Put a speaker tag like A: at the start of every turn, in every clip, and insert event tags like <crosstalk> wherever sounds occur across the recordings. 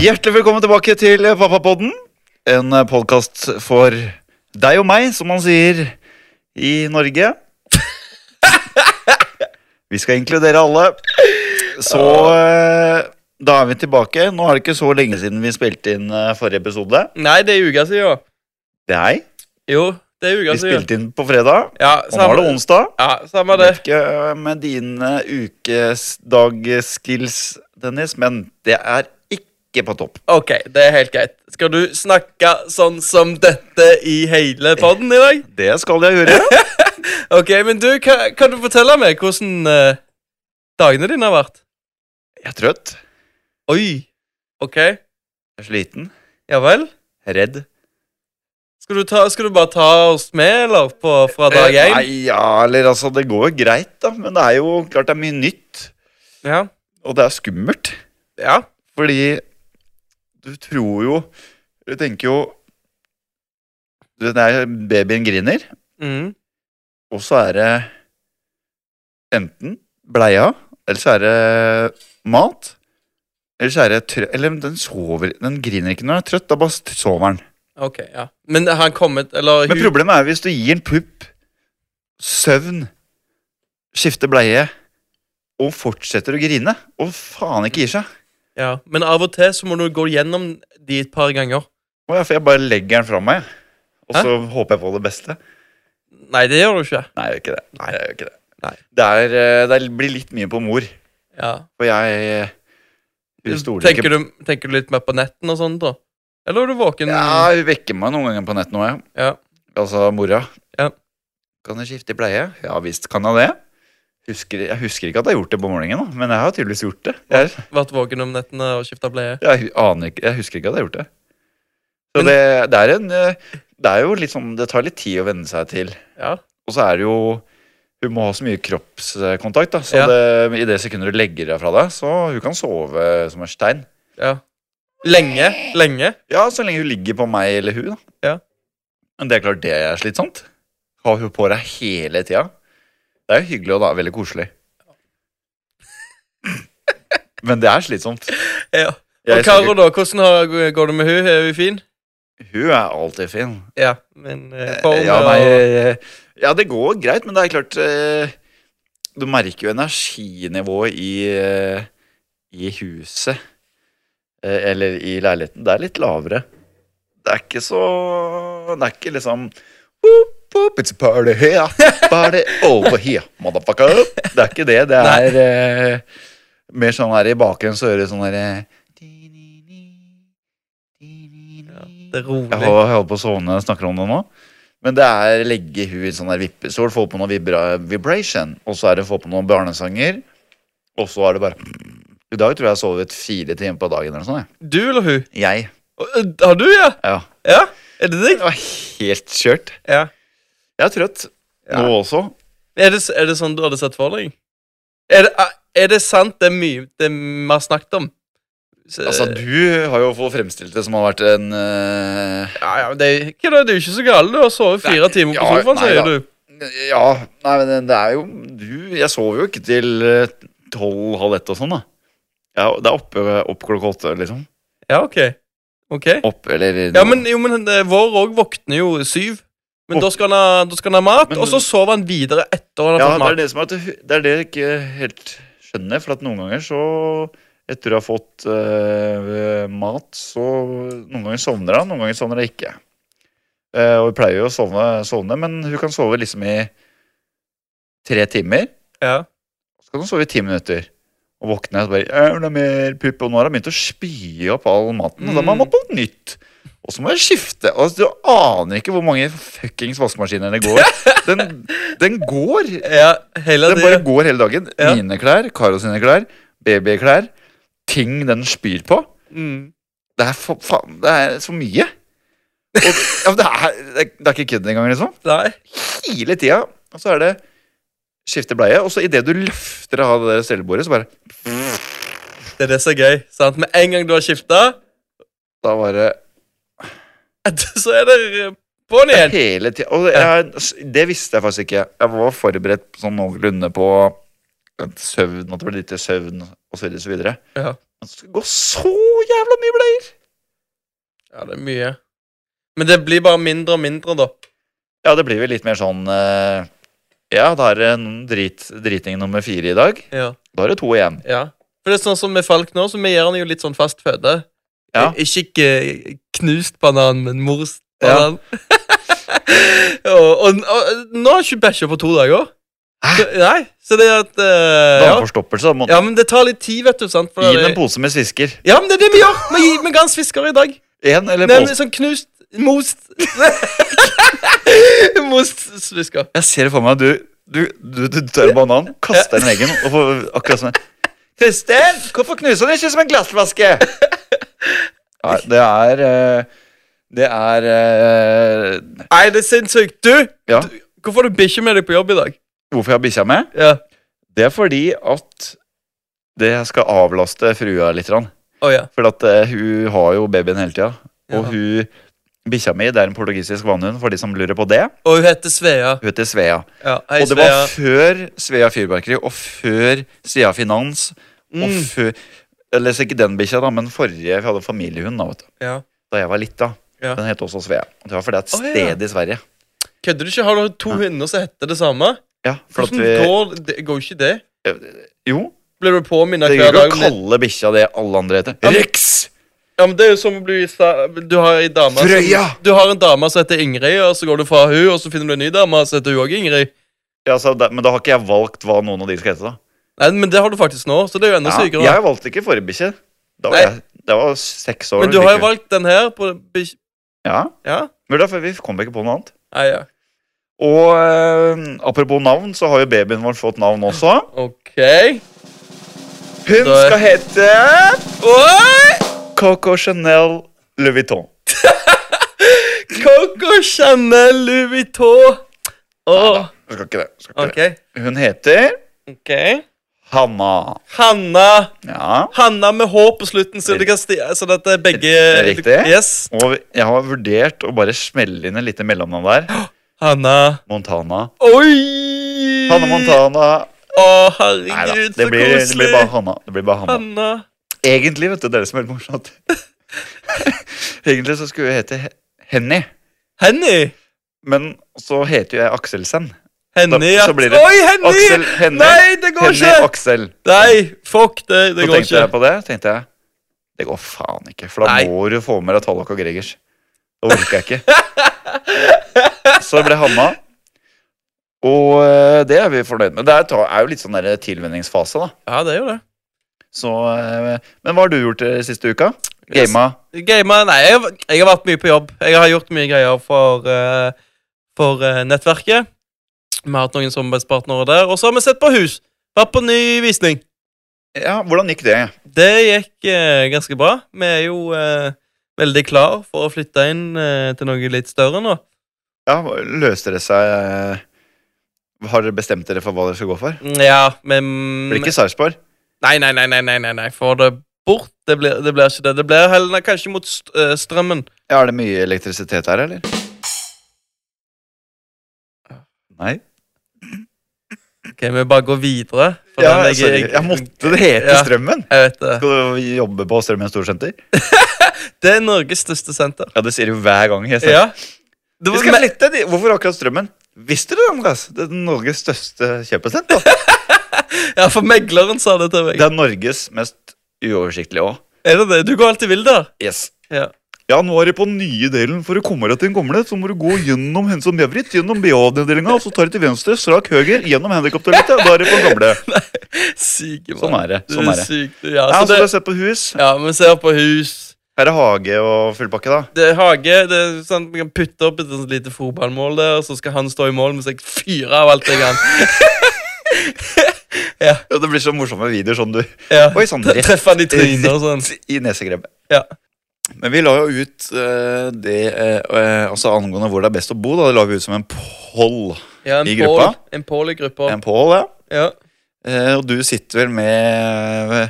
A: Hjertelig velkommen tilbake til Pappapodden. En podkast for deg og meg, som man sier i Norge. Vi skal inkludere alle. Så eh, da er vi tilbake. Nå er det ikke så lenge siden vi spilte inn eh, forrige episode.
B: Nei, det er uka siden. jo.
A: Det er jeg.
B: Jo, det er uka
A: Vi
B: siden.
A: spilte inn på fredag,
B: Ja,
A: og nå er det onsdag.
B: Ja, samme det.
A: Vet ikke eh, med dine ukedagskills, Dennis, men det er ikke på topp.
B: Ok, det er helt greit. Skal du snakke sånn som dette i hele podden i dag?
A: Det skal jeg gjøre.
B: Ok, men du, kan, kan du fortelle meg hvordan eh, dagene dine har vært?
A: Jeg er trøtt.
B: Oi. Ok,
A: Jeg er sliten.
B: ja vel.
A: Redd.
B: Skal du, ta, skal du bare ta oss med, eller, på, fra dag
A: Eh,
B: én?
A: Nei, ja, eller altså, det går jo greit, da. Men det er jo klart det er mye nytt.
B: Ja.
A: Og det er skummelt.
B: ja.
A: Fordi du tror jo Du tenker jo Du vet, når babyen griner,
B: Mm.
A: og så er det enten bleia, eller så er det mat. Eller så er det trø... Eller den sover Den griner ikke når den er trøtt, da bare st- sover den.
B: Ok, ja. Men har han kommet, eller
A: Men
B: hun-
A: problemet er hvis du gir en pupp søvn, skifter bleie og fortsetter å grine og faen ikke gir seg.
B: ja. Men av og til så må du gå gjennom de et par ganger.
A: Å ja, for jeg bare legger den fra meg, jeg. og
B: Hæ?
A: så håper jeg på det beste.
B: Nei, det gjør du ikke.
A: Nei, jeg gjør ikke det. Nei, jeg gjør ikke det.
B: Nei.
A: Det, er, eh, det blir litt mye på mor,
B: Ja.
A: for jeg eh, Hun stoler
B: Tenker
A: ikke
B: du, tenker du litt mer på netten og sånt, da? Eller er du våken?
A: Ja, Hun vekker meg noen ganger på nett nå, ja.
B: Ja.
A: Altså mora.
B: Ja.
A: Kan jeg skifte bleie? Ja visst kan jeg det. Husker, jeg husker ikke at jeg har gjort det på morgenen, da, men jeg har tydeligvis gjort det. Jeg,
B: Vært våken om nettene og skifta bleie?
A: Jeg hu- aner ikke, jeg husker ikke at jeg har gjort det. Så
B: Men-
A: det, det er en eh, Det er jo litt sånn Det tar litt tid å venne seg til.
B: Ja.
A: Og så er det jo Hun må ha så mye kroppskontakt, da. Så
B: Ja.
A: det, i det sekundet du legger deg fra deg, så hun kan sove som en stein.
B: ja. Lenge? Lenge?
A: Ja, så lenge hun ligger på meg eller hun, da.
B: Ja.
A: Men det er klart det er slitsomt. Ha hun på deg hele tida. Det er jo hyggelig og da veldig koselig.
B: <laughs>
A: Men det er slitsomt.
B: Ja. Og
A: Jeg skal
B: Karo, da? Hvordan har, går det med hun? Er hun fin?
A: ikke- Hun er alltid fin.
B: Ja, men eh, form
A: ja,
B: og-
A: nei, eh, ja, det går greit, men det er klart eh, Du merker jo energinivået i, eh, i huset. eh, Eller i leiligheten. Det er litt lavere. Det er ikke så Det er ikke liksom «Whoop, whoop, It's a party here, party over here, motherfucker. Det er ikke det. Det er eh, mer sånn her i bakgrunnen så hører du sånn herre
B: Det er rolig.
A: jeg hol- jeg holder på å sovne når jeg snakker om det nå. Men det er legge hun i sånn der vippestol, få på noe vibra vibration, og så er det få på noen barnesanger, og så er det bare I dag tror jeg jeg har sovet fire timer på dagen eller noe sånt.
B: Du eller hun?
A: jeg. Jeg.
B: Å, Har du, ja?
A: Ja.
B: Ja? Er det deg?
A: Det var helt kjørt.
B: Ja.
A: Jeg er trøtt.
B: Ja.
A: Nå også.
B: Er det, s- er det sånn du hadde sett for deg? Er det, ah, er det sant, det er mye det vi har snakket om? Så-
A: Altså, du har jo fått fremstilt det som har vært en eh,
B: Ja, ja, men det, er- hva da, det er jo ikke så galt. Du har sovet fire
A: Nei,
B: timer på
A: ja,
B: sofaen,
A: nei da.
B: sier du.
A: eh, Ja, nei, men det er jo Du, jeg sover jo ikke til eh, tolv, halv ett og sånn, da. Ja, det er oppe opp klokka åtte, liksom.
B: Ja, ok. Ok.
A: Opp, eller
B: Ja, men, jo, men eh, vår òg våkner jo syv. Men
A: Våk-
B: da skal han ha, da skal han ha mat,
A: Men-
B: og så sover han videre etter han har
A: Ja,
B: fått
A: det er
B: mat.
A: det, som er at, hu- det er det jeg ikke helt skjønner. For at noen ganger så Etter å ha fått eh, mat, så Noen ganger sovner hun, noen ganger sovner hun ikke. Eh, og hun pleier jo å sovne, sovne, men hun kan sove liksom i tre timer.
B: Ja.
A: Så kan hun sove i ti minutter. Og våkne og så bare «Jeg vil ha mer pupp. Og nå har hun begynt å spy opp all maten. Og da må
B: Mm.
A: hun på nytt. Og så må hun skifte. Og du aner ikke hvor mange fuckings vaskemaskiner det går.
B: <laughs>
A: Den, den går!
B: ja, hele
A: Den
B: det,
A: bare går hele dagen.
B: Ja.
A: Mine klær, Karo sine klær, babyklær. Ting den spyr på.
B: mm.
A: Det er, fa faen, det er så mye. Og, ja, men det, er, det er- det er ikke kødd engang, liksom.
B: Nei.
A: Hele tida. Og så er det skifte bleie, og så idet du løfter av det der stellebordet, så bare
B: Det er det som er gøy. sant? Med en gang du har skifta,
A: Da var det
B: så er det eh, på'n igjen.
A: hele tida. Og jeg, det visste jeg faktisk ikke. Jeg var forberedt sånn noenlunde på søvn, at det ble lite søvn, og så videre, og så videre.
B: Ja.
A: Men så skal det gå så jævla mye bleier!
B: Ja, det er mye. Men det blir bare mindre og mindre, da.
A: Ja, det blir vel litt mer sånn eh, Ja, da er det noen drit, driting nummer fire i dag.
B: Ja.
A: Da er det to igjen.
B: ja. For det er sånn som med Falk nå, så vi gir han jo litt sånn fast føde.
A: Ja.
B: Ik- Ikke k- knust banan, men morst banan. <laughs> og, og, og nå har han ikke bæsja på to dager. Så, nei, så det er at eh, ja.
A: Dameforstoppelse. da Må
B: ja, men det tar litt tid, vet du. sant? For
A: gi
B: det-
A: den en pose med svisker.
B: Ja, men det er det vi gjør! Vi gir vi ga han svisker i dag.
A: Én eller
B: Nei,
A: pose
B: men sånn knust Most <laughs> Most svisker.
A: Jeg ser det for meg. Du, du, du, du tar en banan, kaster den i veggen og får akkurat sånn Kristin, hvorfor knuser den ikke som en glassflaske? <laughs> Nei, det er eh, Det er eh,
B: Nei, det er sinnssykt. Du,
A: Ja,
B: hvorfor har du bikkje med deg på jobb i dag?
A: hvorfor jeg har bikkja med?
B: Ja.
A: Det er fordi at det skal avlaste frua litt. grann.
B: Å ja.
A: For at eh, hun har jo babyen hele tida. Og
B: Ja.
A: hun Bikkja mi det er en portugisisk vannhund, for de som lurer på det.
B: Og hun heter Svea.
A: Hun heter Svea.
B: Ja, hei,
A: og det
B: Svea.
A: var før Svea Fyrverkeri og før Svea Finans. Og
B: Mm.
A: før Eller så ikke den bikkja, da, men forrige. Vi hadde en familiehund da vet du
B: Ja.
A: Da jeg var litt, da.
B: Ja.
A: Den het også Svea. Og det var fordi det er et
B: Å, ja.
A: sted i Sverige.
B: Kødder du ikke? Har du to hunder som heter det samme?
A: Ja, for at
B: Hvordan
A: vi
B: går det? Går ikke det?
A: Jo,
B: Blir du påminnet
A: det går
B: hver dag?
A: ikke å
B: om det?
A: kalle bikkja det alle andre heter.
B: Ja, men-
A: Rex!
B: Ja, men det er jo som å bli sa- Du har ei dame som-
A: Frøya!
B: Du har en dame som heter Ingrid, og så går du fra hun, og så finner du en ny dame som heter hun òg Ingrid.
A: Ja, så da- men da har ikke jeg valgt hva noen av de skal hete, da.
B: Nei, men det har du faktisk nå, så det er jo enda
A: Ja,
B: sykere.
A: jeg valgte ikke forrige bikkje. Da var
B: Nei.
A: jeg det var seks år.
B: Men du
A: hun
B: har
A: fikk
B: jo
A: hund.
B: valgt den her på bikk-
A: Ja,
B: Ja?
A: men derfor, Vi kom ikke på noe annet.
B: Nei, ja.
A: Og eh, apropos navn, så har jo babyen vår fått navn også.
B: OK.
A: Hun
B: Da-
A: skal hete
B: Oi!
A: Coco Chanel Louis Vuitton.
B: Coco Chanel Louis Vuitton. Åh,
A: Hun skal ikke det. Skal ikke
B: OK.
A: det. Hun heter
B: ok
A: Hanna.
B: Hanna
A: Ja.
B: Hanna med H på slutten, så, du kan sti sånn at det er begge
A: Er det riktig?
B: Yes.
A: Og jeg har vurdert å bare smelle inn et lite mellomnavn
B: <gasps>
A: der.
B: Hanna
A: Montana.
B: Oi!
A: Hanna Montana.
B: Å,
A: Nei da, det
B: herregud, så
A: blir, det
B: koselig.
A: blir bare Hanna. Det blir bare Hanna.
B: Hanna.
A: Egentlig, vet du, det er det som er litt morsomt. <laughs> Egentlig så skulle jeg hete He- Henny,
B: Henny.
A: men så heter jo jeg Akselsen.
B: Henny,
A: Da-
B: ja.
A: så blir det-
B: Oi, Henny!
A: Aksel, Henny,
B: Nei, det går
A: Henny
B: ikke!
A: Aksel.
B: Nei, fuck det. Det
A: så
B: går
A: tenkte
B: ikke.
A: jeg på det, tenkte jeg Det går faen ikke, for da
B: Nei.
A: må du få med deg Tallak og Gregers. Det orker jeg ikke.
B: <laughs>
A: Så det ble Hanna. Og eh, det er vi fornøyd med. Det er, ta- er jo litt sånn der tilvenningsfase, da.
B: Ja, det er jo det.
A: Så, eh, men hva har du gjort eh, siste uka?
B: Yes.
A: Gama?
B: Gamer, nei, jeg, har- jeg har vært mye på jobb. Jeg har gjort mye greier for, eh, for eh, nettverket. Vi har hatt noen samarbeidspartnere der. Og så har vi sett på hus. Vært på ny visning.
A: Ja, hvordan gikk det?
B: Det gikk eh, ganske bra. Vi er jo eh, veldig klar for å flytte inn eh, til noe litt større nå.
A: Ja, Løste det seg eh, Har dere bestemt dere for hva dere skal gå for?
B: Mm, Ja, men
A: Blir det ikke Sarpsborg?
B: Nei, nei, nei, nei, nei, nei, nei. få det bort. Det blir, det blir ikke det. Det blir heller kanskje mot st eh, strømmen.
A: Ja, er det mye elektrisitet her, eller? Nei?
B: Ok, Vi bare går videre. for
A: Ja,
B: den
A: sorry. Jeg måtte det hete
B: Ja.
A: Strømmen.
B: Jeg vet det.
A: Skal du jobbe på Strømmen storsenter?
B: Det er Norges største senter.
A: Ja, det sier du hver gang. jeg ser.
B: Ja.
A: Vi
B: Det var,
A: skal
B: men,
A: flytte de- Hvorfor akkurat Strømmen? Visste du det, Andreas? Det er Norges største kjøpesenter.
B: <laughs> ja, for megleren sa det til meg.
A: Det er Norges mest uoversiktlige òg.
B: Er det det? Du går alltid vill der.
A: Yes.
B: Ja.
A: Ja, nå er det på nye delen. For å komme deg til den gamle, så må du gå gjennom Henson Bevrit, gjennom BA-avdelinga, så tar du til venstre, strak høyre, gjennom handikaptoalettet, og da er det på den gamle.
B: Syke, mann.
A: Sånn er det. sånn er det.
B: Sykt,
A: Ja,
B: ja. Så
A: så du har
B: det,
A: sett på hus.
B: ja, vi ser på hus.
A: Her er hage og full pakke, da.
B: Det er hage. det er sånn, Vi kan putte opp et sånt lite fotballmål der, og så skal han stå i mål mens jeg fyrer av alt jeg kan.
A: Ja, det blir så morsomme videoer sånn du
B: Ja.
A: Oi sann, rett
B: Treffe han i trynet og sånn.
A: i nesegrebbet.
B: Ja.
A: Men vi la jo ut eh, det eh, eh, Altså angående hvor det er best å bo, da. Det la vi ut som en poll.
B: Ja, en
A: I
B: Paul-
A: gruppa?
B: En Paul i gruppa.
A: En poll, ja.
B: Ja.
A: Eh, og du sitter vel med eh,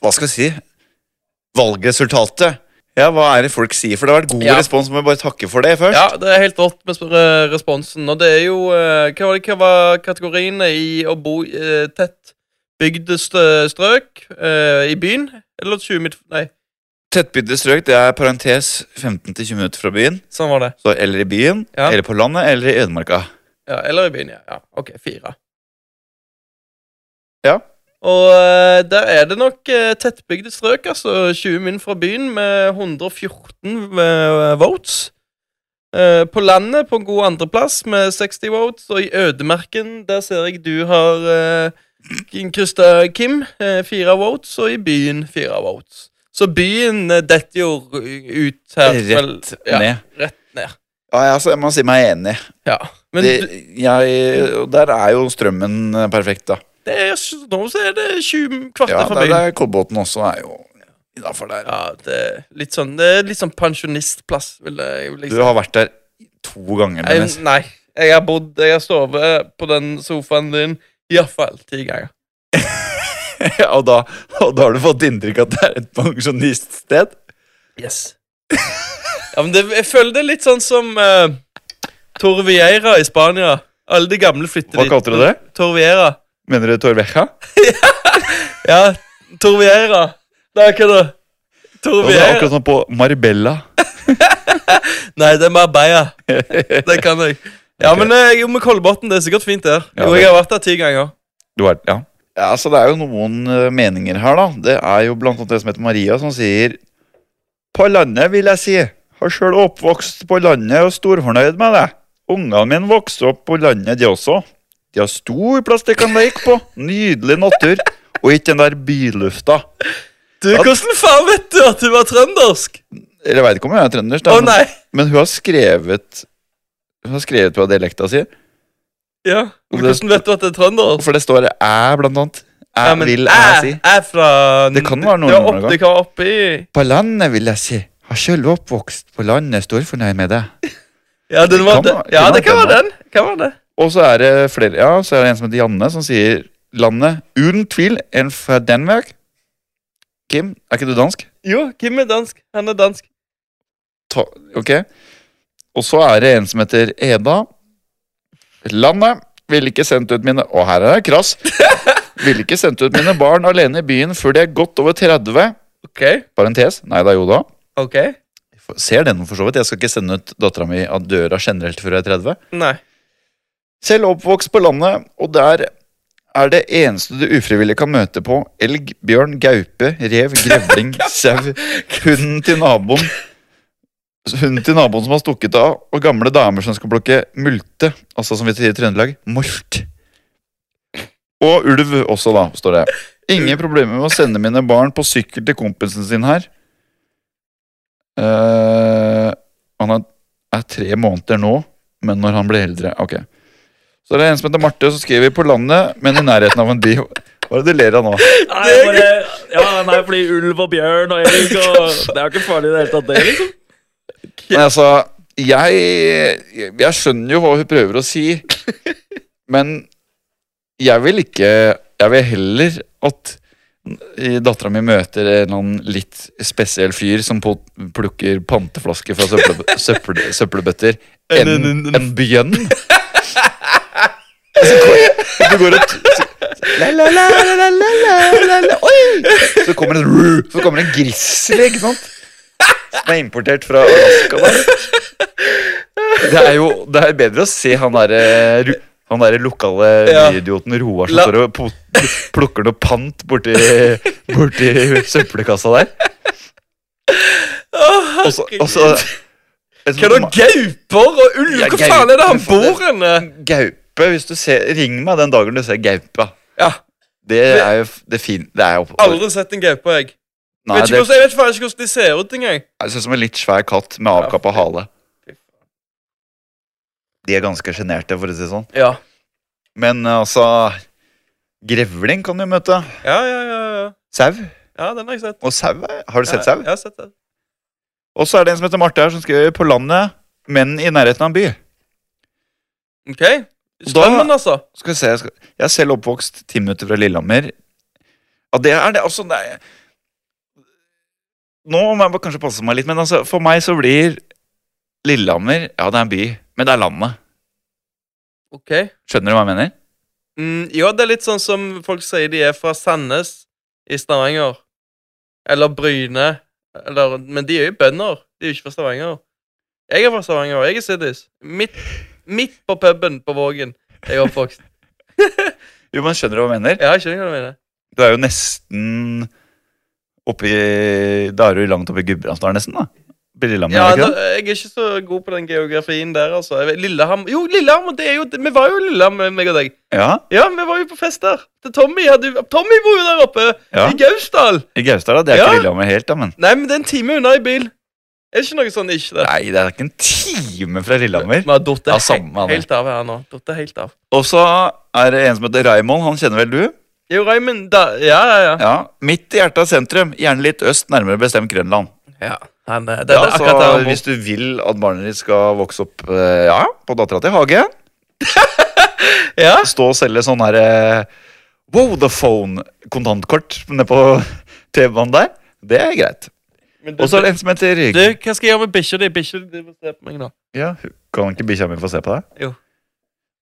A: Hva skal vi si? Valgresultatet. Ja, hva er det folk sier? For det har vært god
B: Ja.
A: respons. Må vi bare takke for det først?
B: ja, det er helt rått med sp- eh, responsen. Og det er jo eh, Hva var, det, hva var kategoriene i å bo i, eh, tett bygde stø- strøk eh, i byen? Eller 20 midt... Nei,
A: Tettbygde strøk det er parentes 15-20 minutter fra byen.
B: sånn var det.
A: Så eller i byen,
B: Ja.
A: eller på landet, eller i ødemarka.
B: Ja, eller i byen, ja. ja. Ok, fire.
A: Ja.
B: Og eh, der er det nok eh, tettbygde strøk, altså 20 min fra byen med 114 eh, votes. Eh, På landet på en god andreplass med 60 votes, og i ødemerken der ser jeg du har eh, Krista Kim, eh, fire votes, og i byen fire votes. Så byen eh, detter jo ut her. vel-
A: Rett
B: ja,
A: ned.
B: Rett ned.
A: Ja, ja, så jeg må si meg enig.
B: Ja. Men
A: det,
B: du-
A: jeg, og der er jo strømmen eh, perfekt, da.
B: Det er, s- nå så er det 20 kvarter
A: Ja,
B: fra
A: der,
B: byen.
A: der Kolbotn også er jo innafor der.
B: Ja, det er litt sånn, det er litt sånn pensjonistplass, vil jeg, vil jeg
A: Du
B: si.
A: har vært der to ganger.
B: Jeg,
A: Dennis.
B: nei, jeg har bodd, jeg har sovet på den sofaen din iallfall ti ganger.
A: <laughs> og, da, og da har du fått inntrykk at det er et pensjoniststed?
B: Yes. Ja, men det, jeg føler det er litt sånn som uh, Tore Vieira i Spania. Alle de gamle flytter
A: Hva kalte du det?
B: Tore Vieira.
A: Mener du Torveja?
B: Ja, Tore Vieira. Nei, hva da? Tore
A: Og det er
B: Vieira.
A: akkurat som på <laughs> Marbella.
B: Nei, det er Marbella. Det kan jeg. Ja,
A: Ok.
B: men eh, jo, med Kolbotn, det er sikkert fint der.
A: Ja,
B: Jo,
A: det-
B: jeg har vært der ti ganger.
A: Du er, ja. ja, så det er jo noen eh, meninger her, da. Det er jo blant annet det som heter Maria, som sier På landet, vil jeg si. Har sjøl oppvokst på landet og storfornøyd med det. Ungene mine vokste opp på landet, de også. De har stor plass de kan leke på. Nydelig natur. Og ikke den der bylufta.
B: Du, hvordan faen vet du at du var trøndersk?
A: Eller jeg veit ikke om hun er trøndersk,
B: Å
A: da, men,
B: nei!
A: men hun har skrevet Hun har skrevet på dialekta si.
B: Ja. Men Hvordan vet du at det er trøndersk?
A: For det står æ, blant annet. Æ
B: Ja, men
A: vil
B: æ,
A: jeg si.
B: æ fra
A: Det kan være noe
B: Ja,
A: nordnorsk
B: opp,
A: også.
B: Det kan være oppi
A: På landet, vil jeg si. Har sjøl oppvokst på landet, står fornøyd med det.
B: Ja, den
A: Det
B: var,
A: kan
B: den,
A: være-
B: ja,
A: den var
B: det kan være
A: den
B: den. Kan være det.
A: Og så er det flere, ja, så er det en som heter Janne, som sier landet uten tvil en fra Danmark. Kim, er ikke du dansk?
B: Jo, Kim er dansk. Han er dansk.
A: Ta, ok. Og så er det en som heter Eda. Landet ville ikke sendt ut mine Og her er jeg krass.
B: <laughs>
A: Ville ikke sendt ut mine barn alene i byen før de er godt over 30.
B: Ok,
A: Parentes. Nei da, jo da.
B: ok.
A: Ser den for så vidt. Jeg skal ikke sende ut dattera mi av døra generelt før jeg er 30.
B: Nei.
A: Selv oppvokst på landet, og der er det eneste du ufrivillig kan møte på elg, bjørn, gaupe, rev, grevling, sau, hunden til naboen Hunden til naboen som har stukket av, og gamle damer som skal plukke multe, altså som vi sier i Trøndelag, molt. Og ulv også, da, står det. Ingen problemer med å sende mine barn på sykkel til kompisen sin her. Eh, han er- er tre måneder nå, men når han blir eldre Ok. Så det er en som heter Marte, som skriver på landet, men i nærheten av en by. Hva er det du ler av nå?
C: Nei, bare, ja, nei, fordi ulv og bjørn og elg og Det er jo ikke farlig i det hele tatt, det, liksom.
A: Nei, altså, jeg, jeg skjønner jo hva hun prøver å si, men jeg vil ikke Jeg vil heller at dattera mi møter en eller annen litt spesiell fyr som på, plukker panteflasker fra søppel, søppel, søppelbøtter, enn
B: En- en- en-
A: en bjønn.
B: <laughs>
A: Så går- så går det så- la, la, la, la, la, la, la, la, oi! Så kommer en, ru- så kommer en grizzly, ikke sant? Som er importert fra Alaska. Der. Det er jo det er bedre å se han derre ru- han der lokale
B: Ja.
A: idioten Roar som
B: La-
A: står og po- plukker noe pant borti, borti søppelkassa der.
B: Åh,
A: Og så- og så sånn
B: Hva er det, gauper og ulv?
A: Ja,
B: Hvor faen er det han
A: gauper, for
B: bor henne?
A: Gaupe, hvis du ser Ring meg den dagen du ser gaupa.
B: Ja,
A: Det er jo f- det er fint. Det er jo
B: aldri sett en gaupe, jeg.
A: Nei,
B: vet
A: det
B: ikke hvordan, jeg vet faen ikke hvordan de ser ut engang.
A: det ser ut som en litt svær katt med avkappa hale.
B: fy faen.
A: De er ganske sjenerte, for å si det sånn.
B: Ja.
A: Men eh, altså Grevling kan du møte.
B: Ja, ja, ja. Ja,
A: Sau.
B: ja den har jeg sett.
A: Og sau er- Har du sett
B: Ja,
A: sau?
B: Jeg har sett den.
A: Og så er det en som heter Marte her, som skriver 'På landet, men i nærheten av en by'.
B: Ok. Strømmen, altså.
A: Skal vi se, jeg, skal... jeg er selv oppvokst ti minutter fra Lillehammer. Ja, det er det. Altså, det er... Nå må jeg bare kanskje passe meg litt, men altså, for meg så blir Lillehammer Ja, det er en by, men det er landet.
B: Ok.
A: Skjønner du hva jeg mener?
B: Mm, ja, det er litt sånn som folk sier de er fra Sandnes i Stavanger. Eller Bryne. Eller, men de er jo bønder. De er jo ikke fra Stavanger. Jeg er fra Stavanger. Jeg er siddis. Midt, midt på puben på Vågen. Jeg er oppvokst.
A: Jo, man skjønner hva jeg mener.
B: Ja, jeg skjønner hva du mener.
A: Du er jo nesten oppi Da er du langt oppi Gudbrandsdalen, nesten, da. Oppi Lillehammer,
B: Ja,
A: er det ikke det?
B: da, jeg er ikke så god på den geografien der, altså. Jeg vet- Lillehammer Jo, Lillehammer! det er jo, Vi var jo i Lillehammer, meg og deg.
A: Ja,
B: Ja, vi var jo på fest der. Til Tommy hadde jo- Tommy bor jo der oppe!
A: ja.
B: I Gausdal!
A: I Gausdal, da. Det er
B: Ja.
A: ikke Lillehammer helt, da, men
B: Nei, men det er en time unna i bil. Er det ikke noe sånn ikke det?
A: Nei, det er ikke en time fra Lillehammer.
B: Vi har datt
A: Ja, samme,
B: he
A: Anne.
B: helt av her nå. Datt helt av.
A: Og så er det en som heter Raymond. Han kjenner vel du?
B: Jo, Raymond da, Ja, ja, ja.
A: Ja. Midt i hjertet av sentrum. Gjerne litt øst, nærmere bestemt Grønland.
B: ja han, eh, det,
A: Ja,
B: det er
A: så
B: akkurat der han bor.
A: altså hvis du vil at barnet ditt skal vokse opp eh, ja, på dattera til Hage,
B: <laughs> Ja.
A: stå og selge sånn her eh, Wodaphone-kontantkort nede på T-banen der, det er greit.
B: Men du,
A: Og så er det en som heter
B: du, hva skal jeg gjøre med bikkja di? Bikkja di må se på meg nå.
A: Ja, hun- Kan ikke bikkja mi få se på deg?
B: Jo.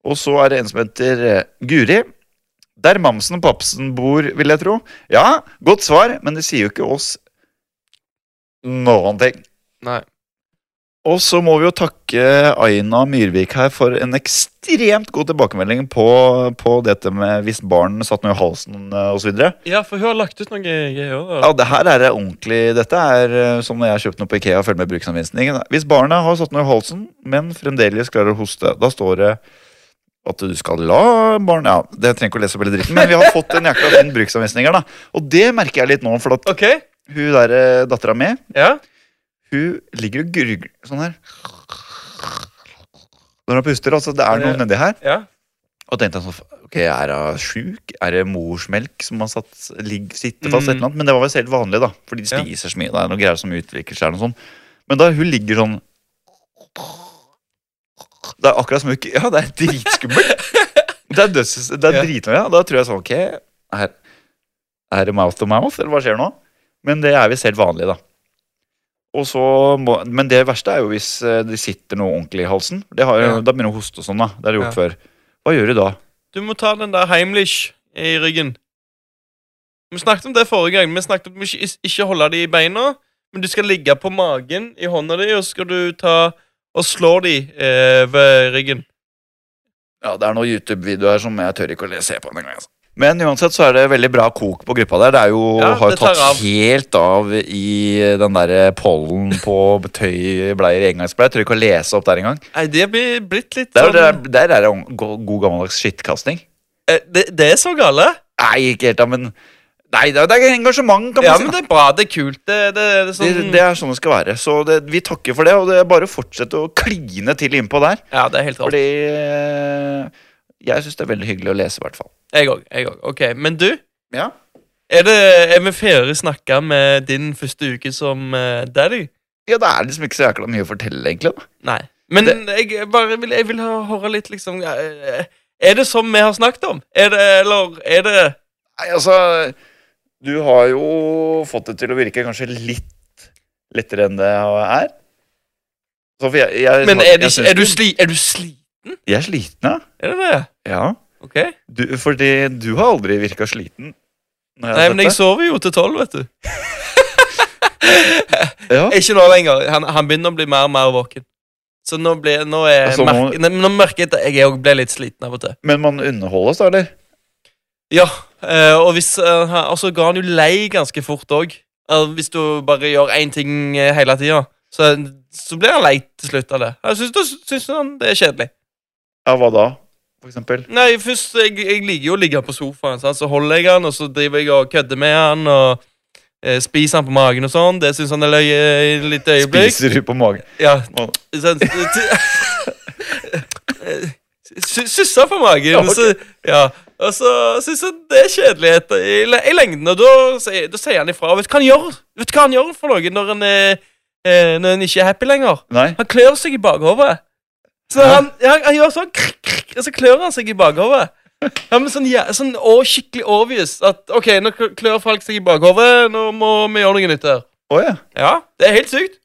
A: Og så er det en som heter eh, Guri. Der mamsen og papsen bor, vil jeg tro. Ja, godt svar, men det sier jo ikke oss noen ting.
B: Nei.
A: Og så må vi jo takke Aina Myrvik her for en ekstremt god tilbakemelding på, på dette med hvis barn satt noe i halsen eh, og så videre
B: Ja, for hun har lagt ut noe greier. da.
A: Ja, det her er det ordentlig Dette er eh, som når jeg har kjøpt noe på Ikea og følger med bruksanvisningen. Hvis barna har satt noe i halsen, men fremdeles klarer å hoste, da står det at du skal la barn Ja, det trenger ikke å lese opp hele dritten, men vi har fått en jækla fin bruksanvisning her, da. Og det merker jeg litt nå, for at
B: OK?
A: hun der eh, dattera mi,
B: Ja.
A: hun ligger og gurgler sånn her. Når hun puster, altså. Det er noe nedi her.
B: ja.
A: Og tenkte jeg sånn, ok, er hun sjuk? Er det morsmelk som har satt, ligg, sitter fast?
B: Mm.
A: et eller annet? Men det var visst helt vanlig, da. Fordi de
B: Ja.
A: spiser så mye. Det er noe greier som utvikler seg. eller Noe sånt. Men da hun ligger sånn Det er akkurat som hun ikke Ja, det er dritskummelt! det er, døds, det er
B: Ja.
A: dritmye. Da tror jeg sånn, ok, er, er det mouth to mouth, eller hva skjer nå? Men det er visst helt vanlig, da. Og så må, men det verste er jo hvis eh, det sitter noe ordentlig i halsen. Det har, jo-
B: Ja.
A: Da begynner hun å hoste og sånn. da, Det har hun gjort
B: Ja.
A: før. Hva gjør du da?
B: Du må ta den der Heimlich i ryggen. Vi snakket om det forrige gang. Vi snakket om at du ikke, ikke holde de i beina, men du skal ligge på magen i hånda di, og så skal du ta og slå de eh, ved ryggen.
A: Ja, det er noen YouTube-videoer som jeg tør ikke å le- se på den engang. Altså. Men uansett så er det veldig bra kok på gruppa der. Det er jo,
B: Ja,
A: har jo
B: det tar
A: tatt
B: av.
A: helt av i den der pollen på tøy, bleier, engangsbleier. Jeg Tør ikke å lese opp der engang.
B: Nei, det blir blitt litt
A: Der,
B: sånn
A: der, der er det ung- go- god gammeldags skittkasting.
B: Eh, det, det er så gale.
A: Nei, ikke helt, da, men Nei, det er, det er engasjement, kan man
B: Ja,
A: si.
B: men
A: da.
B: det er bra. Det er kult. Det, det, det er sånn
A: det, det er sånn det skal være. Så det, vi takker for det, og det er bare å fortsette å kline til innpå der.
B: Ja, det er helt rått.
A: Fordi eh, jeg syns det er veldig hyggelig å lese, i hvert fall.
B: Jeg òg. Jeg òg. OK. Men du,
A: Ja.
B: er, det, er vi ferdig snakka med din første uke som eh, daddy?
A: ja, det er liksom ikke så jækla mye å fortelle, egentlig. da
B: Nei. Men jeg, bare vil, jeg vil ha- høre litt, liksom eh, Er det som vi har snakket om? Er det, eller er det
A: Nei, altså Du har jo fått det til å virke kanskje litt lettere enn det er. Så for jeg, jeg,
B: Men er, det,
A: jeg,
B: ikke-
A: syns-
B: er du sli... Er du sli...
A: jeg er sliten, ja.
B: Er det det?
A: ja.
B: OK.
A: Du, fordi du har aldri virka sliten. når jeg
B: Nei,
A: har
B: men jeg
A: sett
B: sover jo til tolv, vet du.
A: deg. ja.
B: Ikke nå lenger. Han, han begynner å bli mer og mer våken. Så nå, blir, nå, er,
A: Altså, nå-
B: merke- nei, men nå merker jeg at jeg òg ble litt sliten av og til.
A: Men man underholdes, da, eller?
B: Ja, eh, og hvis, eh, han- og så ga han jo lei ganske fort òg. hvis du bare gjør én ting eh, hele tida, så, så blir han lei til slutt av det. Jeg syns, da syns han det er kjedelig.
A: Ja, hva da? For eksempel.
B: Nei, først, jeg, jeg liker jo å ligge på sofaen, sant? så holder jeg han, og så driver jeg og kødder med han, og eh, spiser han på magen og sånn. Det syns han er løye i et lite øyeblikk.
A: Spiser du på magen?
B: Ja,
A: Å.
B: sant? Sussa på magen.
A: Ja, ok.
B: så, ja. Og så syns han det er kjedelig etter, i, le- i lengden. Og da, sier- da sier han ifra. Og vet du hva han gjør Vet du hva han gjør for noe når han, er, eh, når han ikke er happy lenger?
A: Nei?
B: Han klør seg i bakhodet. Så
A: Hæ?
B: han, han, han gjør sånn, krr, krr, og så klør han seg i bakhodet. Ja, men sånn, ja, sånn å, skikkelig obvious at OK, nå kl- klør folk seg i bakhodet. Nå må vi gjøre noe nytt her.
A: Å ja.
B: Ja, det er helt sykt.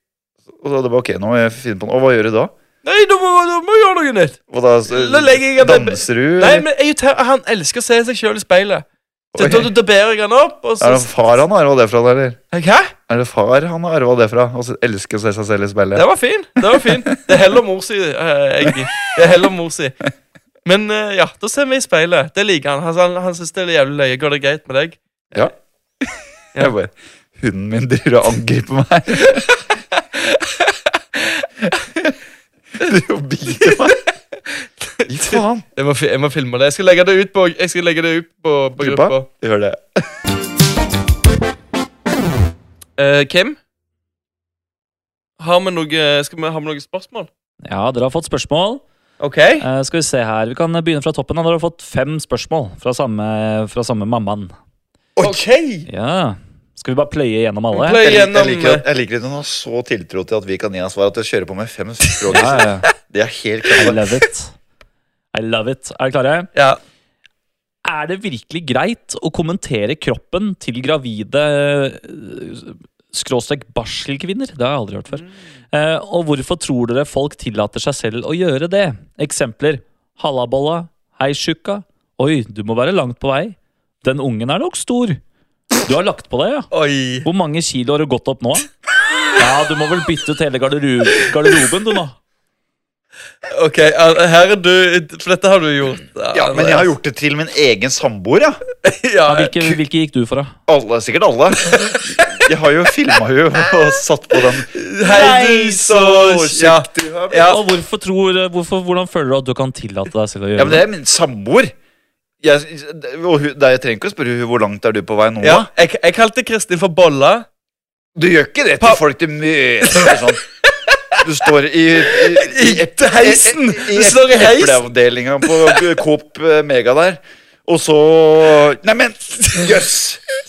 A: Og da er det bare ok, nå må jeg finne på noe. Og hva gjør du da?
B: Nei, da må da må vi gjøre noe nytt.
A: Og da så-
B: Da legger jeg meg-
A: Danser du?
B: Nei,
A: eller?
B: men jeg, er jo ter- han elsker å se seg sjøl i speilet. Så da da ber jeg han opp, og så
A: Er det far han har arva det fra, da, eller?
B: Hæ?
A: Er det far han har arva det fra? Og så elsker å se seg selv i speilet?
B: Det var fin. Det var fin. Det er heller mor si. eh, Jeg, det er heller mor si. Men eh, ja, da ser vi i speilet. Det liker han. Han, han, han syns det er jævlig løye. Går det greit med deg? Ja.
A: Jeg bare, Hunden min driver og angriper meg. driver og biter meg. Gi faen.
B: Jeg må, fi- jeg må filme det. Jeg skal legge det ut på, jeg skal legge det ut på, på
A: Gruppa,
B: gruppa.
A: gjør det.
B: Eh, Kim? Har vi noe, skal vi, har vi noen spørsmål?
C: Ja, dere har fått spørsmål.
B: OK.
C: Eh, skal vi se her. Vi kan begynne fra toppen. da. Dere har fått fem spørsmål fra samme, fra samme mammaen.
A: Ok.
C: Ja. Skal vi bare pløye gjennom alle?
A: Jeg, lik-
B: Pløy
A: jeg,
B: gjennom
A: liker
B: eh,
A: at, jeg liker at hun har så tiltro til at vi kan gi henne svar at hun kjører på med fem språk.
C: Ja, ja, ja.
A: Det er helt
C: I
A: klart.
C: love it. I love it. Er dere klare?
B: eh, Ja.
C: Er det virkelig greit å kommentere kroppen til gravide eh, skråstrek barselkvinner? Det har jeg aldri hørt
A: Mm.
C: før. Eh, og hvorfor tror dere folk tillater seg selv å gjøre det? Eksempler hallabolla, hei tjukka, oi, du må være langt på vei. Den ungen er nok stor. Du har lagt på deg, ja.
B: Oi.
C: Hvor mange kilo har du gått opp nå? Ja, du må vel bytte ut hele garderu- garderoben, du nå.
B: OK, eh, her er du For dette har du gjort.
A: Ja, men jeg har gjort det til min egen samboer, ja.
B: ja,
C: Ja, hvilke, hvilke gikk du for, da?
A: Alle, sikkert alle. Jeg har jo filma jo og satt på den.
B: Hei, du, så ja. ja.
C: Og hvorfor tror, hvorfor, hvordan føler du at du kan tillate deg selv å
A: Ja,
C: gjøre
A: men det er min samboer. Jeg, og hun, det, jeg trenger ikke å spørre hun, hvor langt er du på vei nå.
B: ja. Jeg, jeg kalte Kristin for bolla.
A: Du gjør ikke det
B: Pa-
A: til folk du møter. og Sånn. Du står i, i,
B: <laughs> I heisen!
A: i,
B: Du står i heisen.
A: epleavdelinga på Coop eh, Mega der. Og så Neimen, jøss!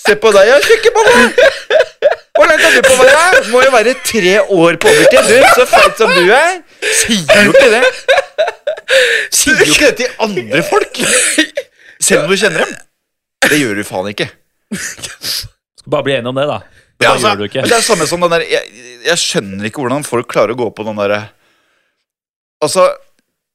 A: Se på deg, ja, tjukke bolle! Hvor langt er du på vei? da? Må jo være tre år på overtid, du. Så feit som du er. Sier jo ikke det. Sier jo ikke det til andre folk. Selv om du kjenner dem. Det gjør du faen ikke.
C: det? Bare bli enig om det, da.
A: Ja,
C: Da
A: altså,
C: gjør du ikke.
A: men Det er samme som den der jeg, jeg skjønner ikke hvordan folk klarer å gå på den derre Altså,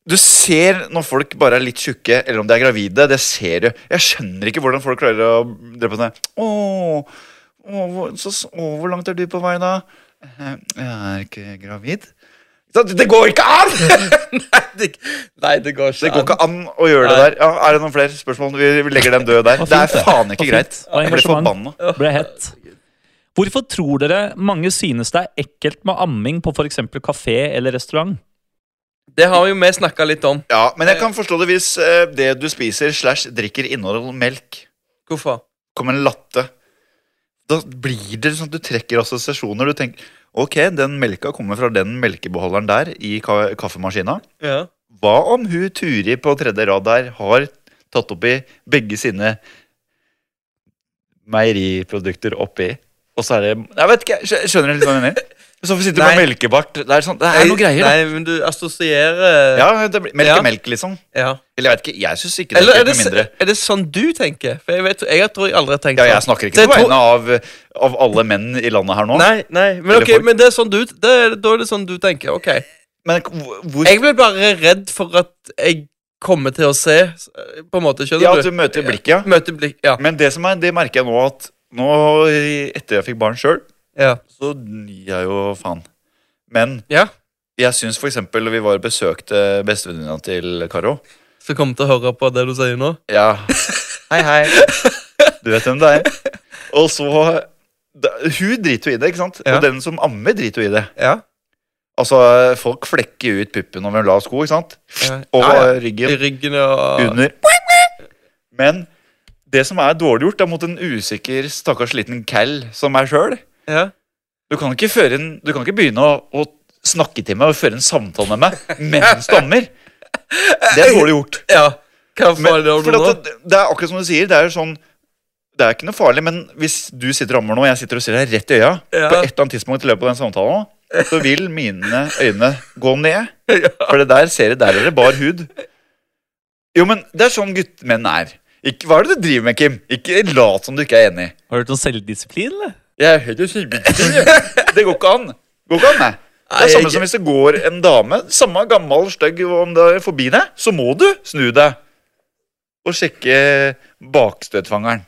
A: du ser når folk bare er litt tjukke, eller om de er gravide. Det ser du. Jeg skjønner ikke hvordan folk klarer å drepe sånn Åh, åh, hvor- så, s- åh, hvor langt er du på vei, da? «Eh, Jeg er ikke gravid. Så Det det går ikke <laughs> an!
B: Nei, det går ikke.
A: Det går
B: an.
A: ikke an å gjøre det der. Ja, er det noen flere spørsmål? Vi vi legger dem døde der.
C: Det
A: Det
C: var
A: er
C: fint, det.
A: faen
C: Det
A: ikke
C: var
A: greit.
C: fint. Det var
A: Jeg ble
C: engasjement.
A: forbanna.
C: ble hett. Hvorfor tror dere mange synes det er ekkelt med amming på f.eks. kafé eller restaurant?
B: Det har jo vi snakka litt om.
A: Ja, men jeg kan forstå det hvis eh, det du spiser slash drikker inneholder melk.
B: Hvorfor?
A: Kommer en latte. Da blir det sånn at du trekker assosiasjoner. Du tenker ok, den melka kommer fra den melkebeholderen der i ka kaffemaskina.
B: Ja.
A: Hva om hun Turi på tredje rad der har tatt oppi begge sine meieriprodukter oppi, og så er det Jeg vet ikke, skjø- skjønner du litt hva jeg mener? <laughs> Så får vi sitte med
B: Nei.
A: melkebart. Det er, sånn, det er noe greier, da.
B: Nei, men du assosierer
A: Ja, det blir, melk
B: Ja.
A: er melk, liksom.
B: Ja.
A: Eller jeg vet ikke, jeg syns ikke det.
B: Eller
A: Er
B: er det,
A: ekkelt med mindre.
B: er det sånn du tenker? For jeg, vet, jeg tror jeg aldri har tenkt
A: Ja,
B: sånn.
A: jeg snakker ikke
B: Det
A: på
B: tror-
A: vegne av, av alle menn i landet her nå.
B: Nei, nei, men,
A: Eller
B: ok,
A: folk.
B: men det er sånn du, det, er- da er det sånn du tenker. ok
A: Men hvor, hvor
B: Jeg blir bare redd for at jeg kommer til å se, s- på en måte. Skjønner
A: Ja, altså- at
B: du?
A: du møter blikket, ja.
B: Møte blikk, ja.
A: Men det som er, det merker jeg nå at Nå, i- etter jeg fikk barn sjøl,
B: ja.
A: så nyr jeg jo faen. Men
B: Ja.
A: jeg syns for eksempel vi var og besøkte bestevenninna til Karo.
B: Så kommer til å høre på det du sier nå.
A: Ja,
B: <laughs> Hei, hei.
A: du vet hvem det er. Og så da, Hun driter jo i det, ikke sant?
B: Ja.
A: Og den som ammer, driter jo i det.
B: Ja.
A: Altså, folk flekker ut puppen over en lav sko, ikke sant?
B: ja.
A: Og
B: ja, ja.
A: ryggen.
B: I ryggen og
A: under. Men det som er dårlig gjort, er mot en usikker, stakkars liten cal som meg sjøl.
B: Ja.
A: Du kan ikke, føre en, du kan ikke begynne å, å snakke til meg og føre en samtale med meg mens du ammer. Det er dårlig gjort.
B: ja. Hva
A: Men,
B: faen gjør du
A: for
B: nå? <laughs>
A: at det, det er akkurat som du sier. Det er jo sånn Det er ikke noe farlig, men hvis du sitter og ammer nå, og jeg sitter og ser deg rett i øya,
B: Ja.
A: på et eller annet tidspunkt i løpet av den samtalen, nå, så vil mine øyne gå ned. For det der ser jeg, der er det bar hud. Jo, men det er sånn guttmenn er. Ikke, hva er det du driver med, Kim? Ikke lat som du ikke er enig.
C: Har du hørt om selvdisiplin, eller?
A: Jeg er høyt og kjempefin. Det går ikke an. Går ikke an, nei. Det
B: <laughs> Nei,
A: er
B: jeg-
A: samme som hvis det går en dame, samme gammel stygg om det er forbi deg, så må du snu deg og sjekke bakstøtfangeren.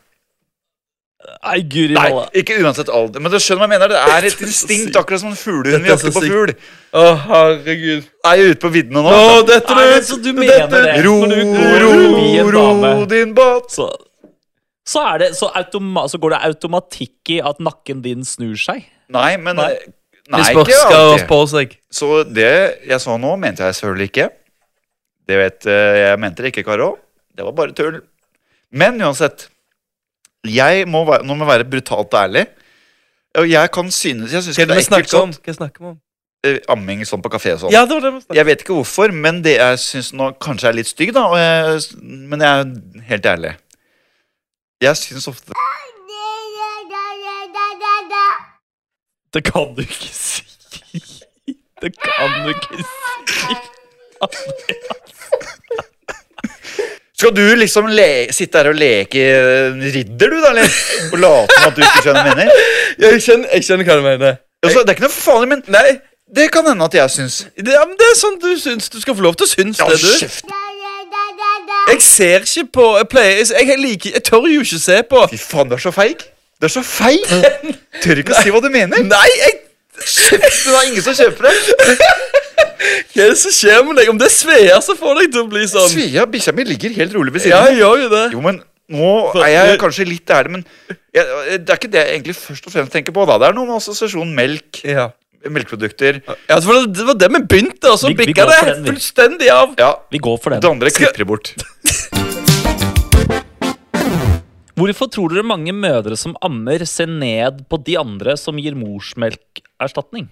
C: Nei, guri
A: Nei,
C: malla.
A: ikke uansett alder. Men du skjønner hva jeg mener. Det er et instinkt, akkurat som en fuglehund
B: Dette er
A: jakter
B: så
A: på
B: sykt.
A: fugl.
B: Å, herregud.
A: Er jeg ute på viddene nå?
B: Å, dette
C: Nei, men
B: du!
C: så du mener
B: dette-
C: det.
A: Ro,
C: Når du går
A: ro,
C: forbi en
A: ro
C: dame,
A: din båt.
C: så, så, er det, så, automa så går det automatikk i at nakken din snur seg.
A: Nei, men
C: Nei.
A: Nei,
B: Hvis folk
A: ikke
B: skal
A: alltid.
B: på seg.
A: Så det jeg sa nå, mente jeg selvfølgelig ikke. Det vet eh, jeg mente det ikke, Karo. Det var bare tull. Men uansett. Jeg må være, nå må jeg være brutalt ærlig. Og jeg kan synes Jeg synes
B: Hva er
A: ikke det
B: det vi
A: er ekkelt
B: snakker om?
A: sånn
B: Hva snakker vi om?
A: eh, amming sånn på kafé og sånn.
B: Ja, det var det vi snakket om.
A: Jeg vet ikke hvorfor, men det jeg syns nå kanskje er litt stygg, da. Og jeg, men jeg er helt ærlig. Jeg syns ofte
C: Det kan du ikke si. Det kan du ikke si.
A: Skal du liksom le sitte her og leke eh, ridder, du, da? Eller? Og late som at du ikke skjønner hva jeg mener?
B: Jeg skjønner, jeg skjønner hva du mener.
A: Altså, det er ikke noe farlig, men
B: Nei,
A: det kan hende at jeg syns.
B: det, ja, men det er sånn du syns. Du skal få lov til å synes
A: Ja,
B: det, du.
A: kjeft.
B: Jeg ser ikke på Jeg, pleier, jeg, jeg, liker, jeg tør jo ikke se på.
A: Fy faen, du er så feig. Du er så <laughs> feig. Tør ikke å si hva du <laughs> mener.
B: Nei, jeg,
A: Kjeft, det er ingen som kjøper <laughs> det.
B: hva er det som skjer med deg? Om det er Svea som får deg til å bli sånn?
A: Svea, bikkja mi, ligger helt rolig ved
B: Ja,
A: siden av.
B: jeg gjør jo det.
A: Jo, men nå er jeg kanskje litt ærlig, men jeg, det er ikke det jeg egentlig først og fremst tenker på. da. Det er noe med assosiasjon melk,
B: Ja.
A: melkeprodukter.
B: Ja, for det, det var det vi begynte, og så
C: Vi- vi
B: bikka
C: går for
B: det
C: den, vi.
B: fullstendig av.
A: Ja,
C: Vi går for
A: det
C: den.
A: andre klipper de bort.
C: Hvorfor tror dere mange mødre som ammer, ser ned på de andre som gir morsmelkerstatning?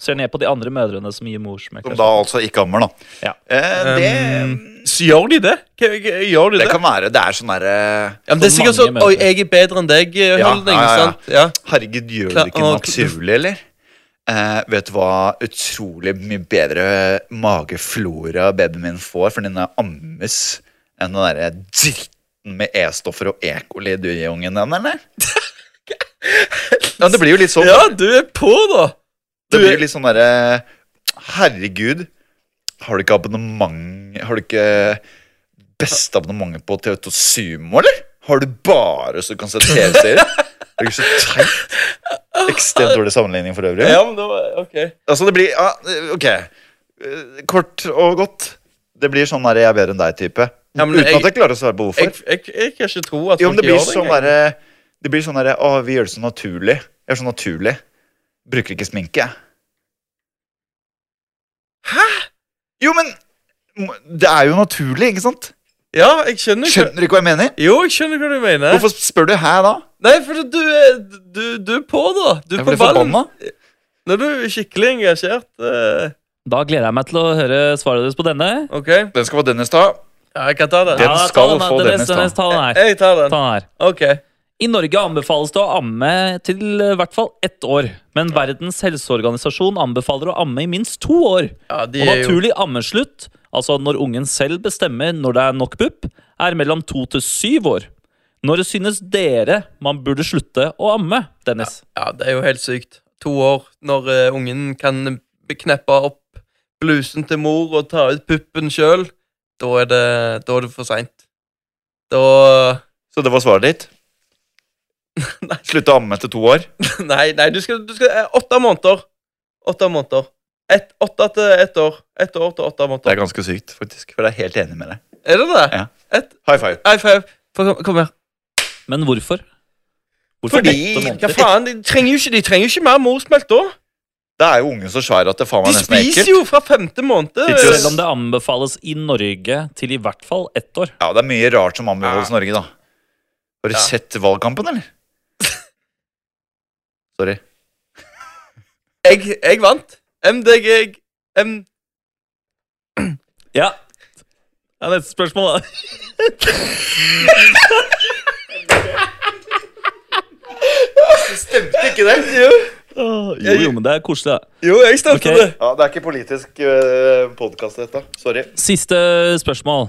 C: Ser ned på de andre mødrene som gir
A: Som da
C: morsmelkerstatning.
A: altså ikke ammer, da.
C: Ja.
A: Eh, det,
B: Um, Så gjør de det? Hva- hva- Gjør de
A: det
B: det?
A: kan være. Det er sånn derre
B: Ja, men det er
C: For
B: sikkert
C: mange
B: sånn
C: mødre.
B: Oi, jeg er bedre enn deg-holdning.
A: Ja, ja, ja.
B: sant? Ja.
A: Herregud, gjør
B: Kla-
A: du ikke nok
B: ok.
A: surlig, eller? Eh, vet du hva utrolig mye bedre mageflora babyen min får for den ammes enn den derre dritten med E-stoffer og E-coli du gir ungen den, eller?
B: <laughs>
A: ja, det blir jo litt sånn.
B: ja, du er på, da.
A: det
B: du-
A: blir jo litt sånn derre Herregud, har du ikke abonnement Har du ikke beste abonnementet på TV2 Sumo, eller? Har du bare så du kan se TV-serier? Er du ikke så teit? Ekstremt dårlig sammenligning for øvrig.
B: Ja, men det var, ok
A: Altså, det blir ja, Ok. Eh, Kort og godt. Det blir sånn derre 'jeg er bedre enn deg'-type.
B: Ja, men
A: Uten
B: jeg-
A: at jeg klarer å svare på hvorfor.
B: Jeg, jeg, jeg kan ikke tro at
A: jo, men
B: folk
A: det blir
B: gjør det.
A: sånn
B: engang.
A: derre Det blir sånn derre 'Å, vi gjør det så naturlig'. Jeg er så naturlig. Bruker ikke sminke, jeg. Hæ?! Jo, men m- det er jo naturlig, ikke sant?
B: Ja, jeg skjønner ikke
A: Skjønner du ikke hva jeg mener?
B: Jo, jeg skjønner hva du mener.
A: Hvorfor spør du 'hæ' da?
B: Nei, for du er, du, du er på, da. Du er
A: Jeg
B: på
A: ble
B: ballen.
A: forbanna.
B: Når du er skikkelig engasjert. eh,
C: Da gleder jeg meg til å høre svaret deres på denne.
B: ok,
A: Den skal få Dennis ta.
B: ja, jeg kan ta det.
A: Den
C: ta
A: skal
C: den, da.
A: få
C: Dennis,
A: Dennis, da.
C: Dennis, ta den her.
B: Jeg tar den.
C: Ta den her.
B: Ok.
C: I Norge anbefales det å amme til eh, hvert fall ett år. Men Verdens helseorganisasjon anbefaler å amme i minst to år.
B: Ja, de
C: Og
B: er jo
C: naturlig ammeslutt, altså når ungen selv bestemmer når det er nok pupp, er mellom to til syv år. Når synes dere man burde slutte å amme, Dennis?
B: Ja, det er jo helt sykt. To år, når eh, ungen kan bekneppe opp blusen til mor og ta ut puppen sjøl, da er det, da er det for seint. Da <laughs>
A: Så det var svaret ditt? Slutte å amme etter to år?
B: Nei, nei, du skal, du skal eh, Åtte måneder. Åtte måneder. Et, åtte til ett år. Ett år til åtte
A: Det
B: måneder.
A: er ganske sykt, faktisk. For jeg er helt enig med deg.
B: Er det det?
A: Ja.
B: Et,
A: High five.
B: high five. Få- kom, kom her.
C: Men hvorfor? Hvorfor
A: Fordi-
C: åtte måneder?
B: Hva faen? De trenger jo ikke, de trenger jo ikke mer morsmelk da.
A: Da er jo ungen så svær at det faen meg
B: De
A: nesten er
B: spiser
A: ekkelt.
B: jo fra femte måned.
A: Tidsjøs.
C: Selv om det anbefales i Norge til i hvert fall ett år.
A: Ja, det er mye rart som anbefales i Norge, da. Har du
B: Ja.
A: sett valgkampen, <laughs> eller? Sorry.
B: Jeg, jeg vant. MDG M...
C: Ja. ja neste spørsmål, da.
A: Stemte ikke det? <laughs>
C: Jo, jo, men det er koselig, da.
B: Jo, jeg stemte
C: Ok.
B: det.
A: Ja, Det er ikke politisk uh, podkast, dette. Sorry.
C: Siste spørsmål.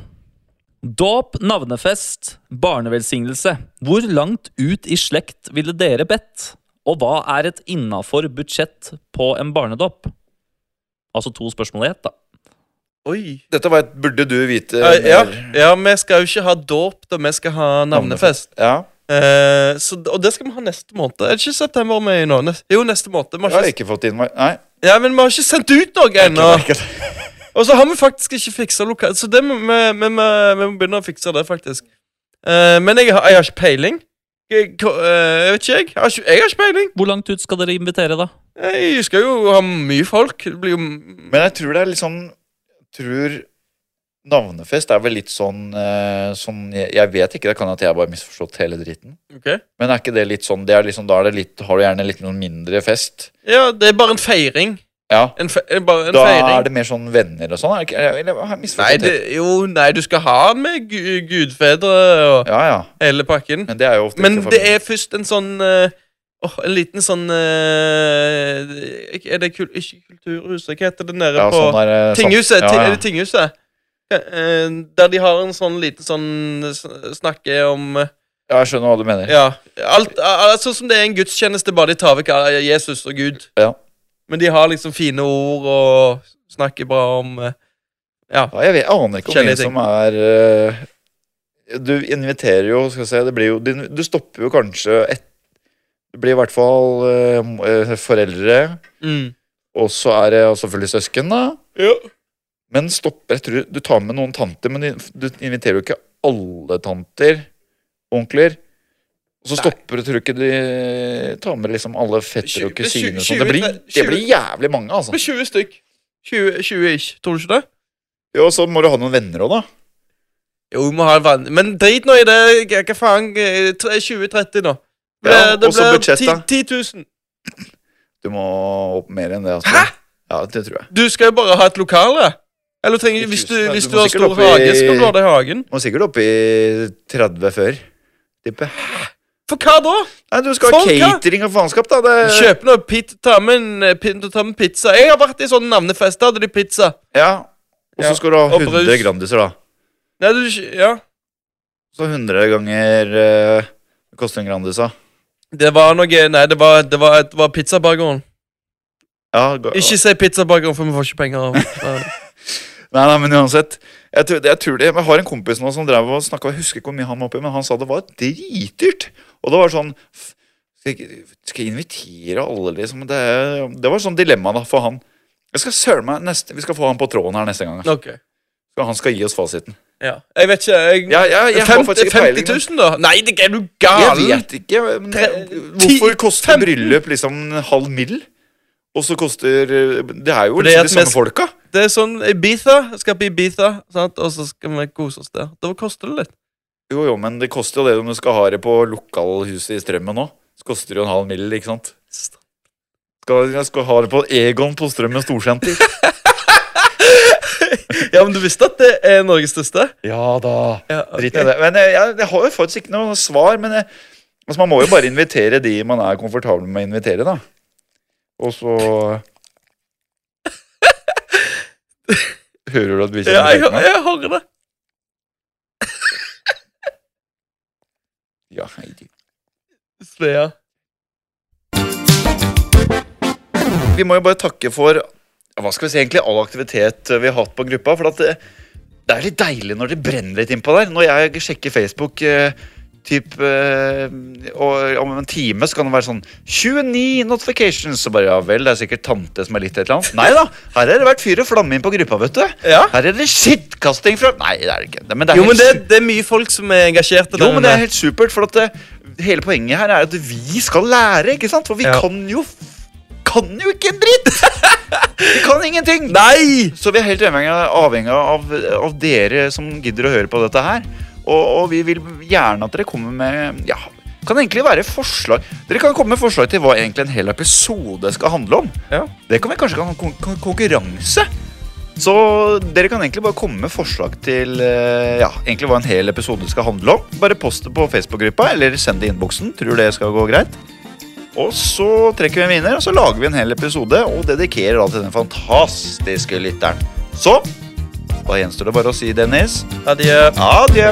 C: Dåp, navnefest, barnevelsignelse. Hvor langt ut i slekt ville dere bedt? Og hva er et innafor budsjett på en barnedåp? Altså to spørsmål i ett, da.
B: Oi.
A: Dette var et burde du vite.
B: Eh, Ja, ja,
A: mer.
B: ja, vi skal jo ikke ha dåp, da. Vi skal ha navnefest.
A: Ja.
B: Eh, så, og det skal vi ha neste måned. Er det ikke september vi er i nå? Nes- Jo, neste måned. Vi
A: Jeg har
B: har ikke,
A: ikke fått innmark... Nei.
B: ja, men vi har ikke sendt ut noe
A: jeg har ikke
B: ennå.
A: merket det.
B: Og så har vi faktisk ikke fiksa lokal... Så det må, vi, vi, vi, vi må begynne å fikse det, faktisk. Eh, men jeg har, jeg har ikke peiling. Jeg, hva- eh, jeg vet ikke, jeg. Jeg har ikke, jeg har ikke peiling.
C: Hvor langt ut skal dere invitere, da?
B: Jeg skal jo ha mye folk. Det blir jo m-
A: Men jeg tror det er litt sånn Tror Navnefest er vel litt sånn, eh, sånn jeg, jeg vet ikke, det kan at jeg har bare misforstått hele dritten.
B: Ok.
A: Men er ikke det litt sånn det er liksom, Da er det litt, har du gjerne litt noen mindre fest.
B: Ja, det er bare en feiring.
A: Ja.
B: En, fe eh, bare en
A: Da
B: feiring.
A: er det mer sånn venner og sånn? Er det ikke, eller- eller har jeg
B: Nei,
A: misforstått
B: det, jo, nei, du skal ha med gu gudfedre og
A: Ja, ja.
B: hele pakken.
A: Men det er jo ofte
B: Men
A: ikke
B: det
A: familie.
B: er først en sånn eh, Åh, en liten sånn eh, ikke- Er det kul ikke kulturhuset? Hva heter det nede
A: ja,
B: på
A: sånn er, det- sånn-
B: Tinghuset? ti-
A: ja,
B: Er
A: ja.
B: det Tinghuset? Eh, Der de har en sånn liten sånn s- Snakke om eh,
A: ja, jeg skjønner hva du mener.
B: Ja. Alt, al- sånn som det er en gudstjeneste, bare de tar vekk eh, Jesus og Gud.
A: Ja.
B: Men de har liksom fine ord og snakker bra om eh, Ja.
A: Ja, jeg vet, jeg aner ikke hvor mye
B: Kjenner ting.
A: som er eh, Du inviterer jo, skal jeg si det blir jo, Du du stopper jo kanskje et, Det blir i hvert fall eh, m- eh, foreldre,
B: Mm.
A: og så er det selvfølgelig søsken, da.
B: ja.
A: Men stopper jeg tror, Du tar med noen tanter, men du du inviterer jo ikke alle tanter og onkler. Og så stopper du, tror du ikke de tar med liksom alle fettere og
B: Tjue- tjue-
A: kusiner og sånn. Det blir, det
B: tjue-
A: blir jævlig mange, altså.
B: Med 20 stykk. 20, 20 ish, tror du ikke det?
A: Jo, og så må du ha noen venner òg, da.
B: Jo, vi må ha en vann. Men drit nå i det. Hva- Hva faen? eh, tre- 2030 nå. Ble,
A: Ja,
B: det
A: og så budsjett, da.
B: blir 10 000.
A: Du må opp mer enn det. Altså.
B: Hæ?
A: Ja, det tror jeg.
B: Du skal jo bare ha et lokale. Eller trenger, hvis du,
A: 10 000,
B: hvis
A: du
B: du
A: må
B: har
A: sikkert
B: stor
A: opp i-
B: hage, skal du ha det i hagen.
A: Må sikkert opp i 30 før. Tipper jeg.
B: For hva da?
A: Nei, du skal ha
B: Folk, ja.
A: catering og faenskap, da. Det,
B: Kjøp nå pit, ta med en eh, pit, ta med pizza. Jeg har vært i sånne navnefester, hadde de pizza.
A: ja. Og
B: Ja,
A: så skal du ha
B: og
A: 100
B: brus.
A: Grandiser, da.
B: Nei, du, ikke- ja.
A: Så 100 ganger eh, Det koster en Grandis, da.
B: Det var noe Nei, det var, det var, det var pizzabakeren.
A: Ja, ga-
B: Ikke si pizzabakeren, for vi får ikke penger
A: <laughs>
B: av den.
A: Nei, nei, men uansett. Jeg tror, jeg tror det, jeg har en kompis nå som drev og snakka, jeg husker ikke hvor mye han var oppi, men han sa det var dritdyrt. Og det var sånn f- Skal jeg, skal jeg invitere alle, liksom? Det, er- det var sånn dilemma da, for han. Jeg skal søren meg neste, Vi skal få han på tråden her neste gang.
B: Ok.
A: Så Han skal gi oss fasiten.
B: Ja. Jeg vet ikke. Jeg,
A: Ja, ja, jeg har faktisk
B: 50,
A: ikke peiling, men-
B: 000, da? Nei, det er du
A: Jeg
B: gal!
A: vet ikke. Men
B: Tre-
A: hvorfor
B: ti-
A: koster
B: femten?
A: bryllup liksom en halv mill? Og så koster Det er jo
B: Fordi
A: liksom
B: at
A: de samme
B: mest-
A: folka.
B: Det er sånn Ibiza skal på Ibiza, sant? og så skal vi kose oss der. Da koster det litt.
A: Jo, jo, men det koster jo det om du skal ha det på lokalhuset i Strømmen òg. Så koster det jo en halv mill, ikke sant? Skal, jeg skal ha det på Egon på Strømmen storsenter.
B: Ja, men du visste at det er Norges største?
A: <laughs> ja da.
B: Ja, ok.
A: Drit i det. Men jeg, jeg, jeg har jo faktisk ikke noe svar. Men jeg, altså, man må jo bare invitere de man er komfortabel med å invitere, da. Og så <laughs> Hører du at bikkja
B: Ja, jeg,
A: biter meg?
B: jeg hører det.
A: Ja, hei.
B: Svea.
A: Vi må jo bare takke for ja, hva skal vi si egentlig, all aktivitet vi har hatt på gruppa. For at det, det er litt deilig når det brenner litt innpå der. Når jeg sjekker Facebook eh, typ, eh, og om en time, så kan det være sånn 29 notifications. Så bare ja vel, det er sikkert tante som er litt et eller annet. Nei da, her har det vært fyr og flamme inn på gruppa, vet du.
B: Ja.
A: Her er det skittkasting fra Nei, det er det ikke. Men det er
B: Jo, men
A: helt
B: det,
A: supert.
B: det er mye folk som er engasjerte
A: jo,
B: der
A: men det er
B: inne.
A: helt supert, for at det, hele poenget her er at vi skal lære, ikke sant? For vi
B: Ja.
A: kan jo kan jo ikke en dritt! <laughs> vi kan ingenting!
B: Nei!
A: Så vi er helt avhengig av, avhengig av, av dere som gidder å høre på dette her. Og, og vi vil gjerne at dere kommer med Ja, kan egentlig være forslag Dere kan komme med forslag til hva egentlig en hel episode skal handle om.
B: Ja.
A: Det kan vi kanskje kan ha kon kon konkurranse. Så dere kan egentlig bare komme med forslag til eh, ja, egentlig hva en hel episode skal handle om. Bare post det på Facebook-gruppa, eller send det i innboksen. Tror det skal gå greit. Og så trekker vi en vinner, og så lager vi en hel episode og dedikerer da til den fantastiske lytteren. Så da gjenstår det bare å si, Dennis,
B: Adjø.
A: adjø.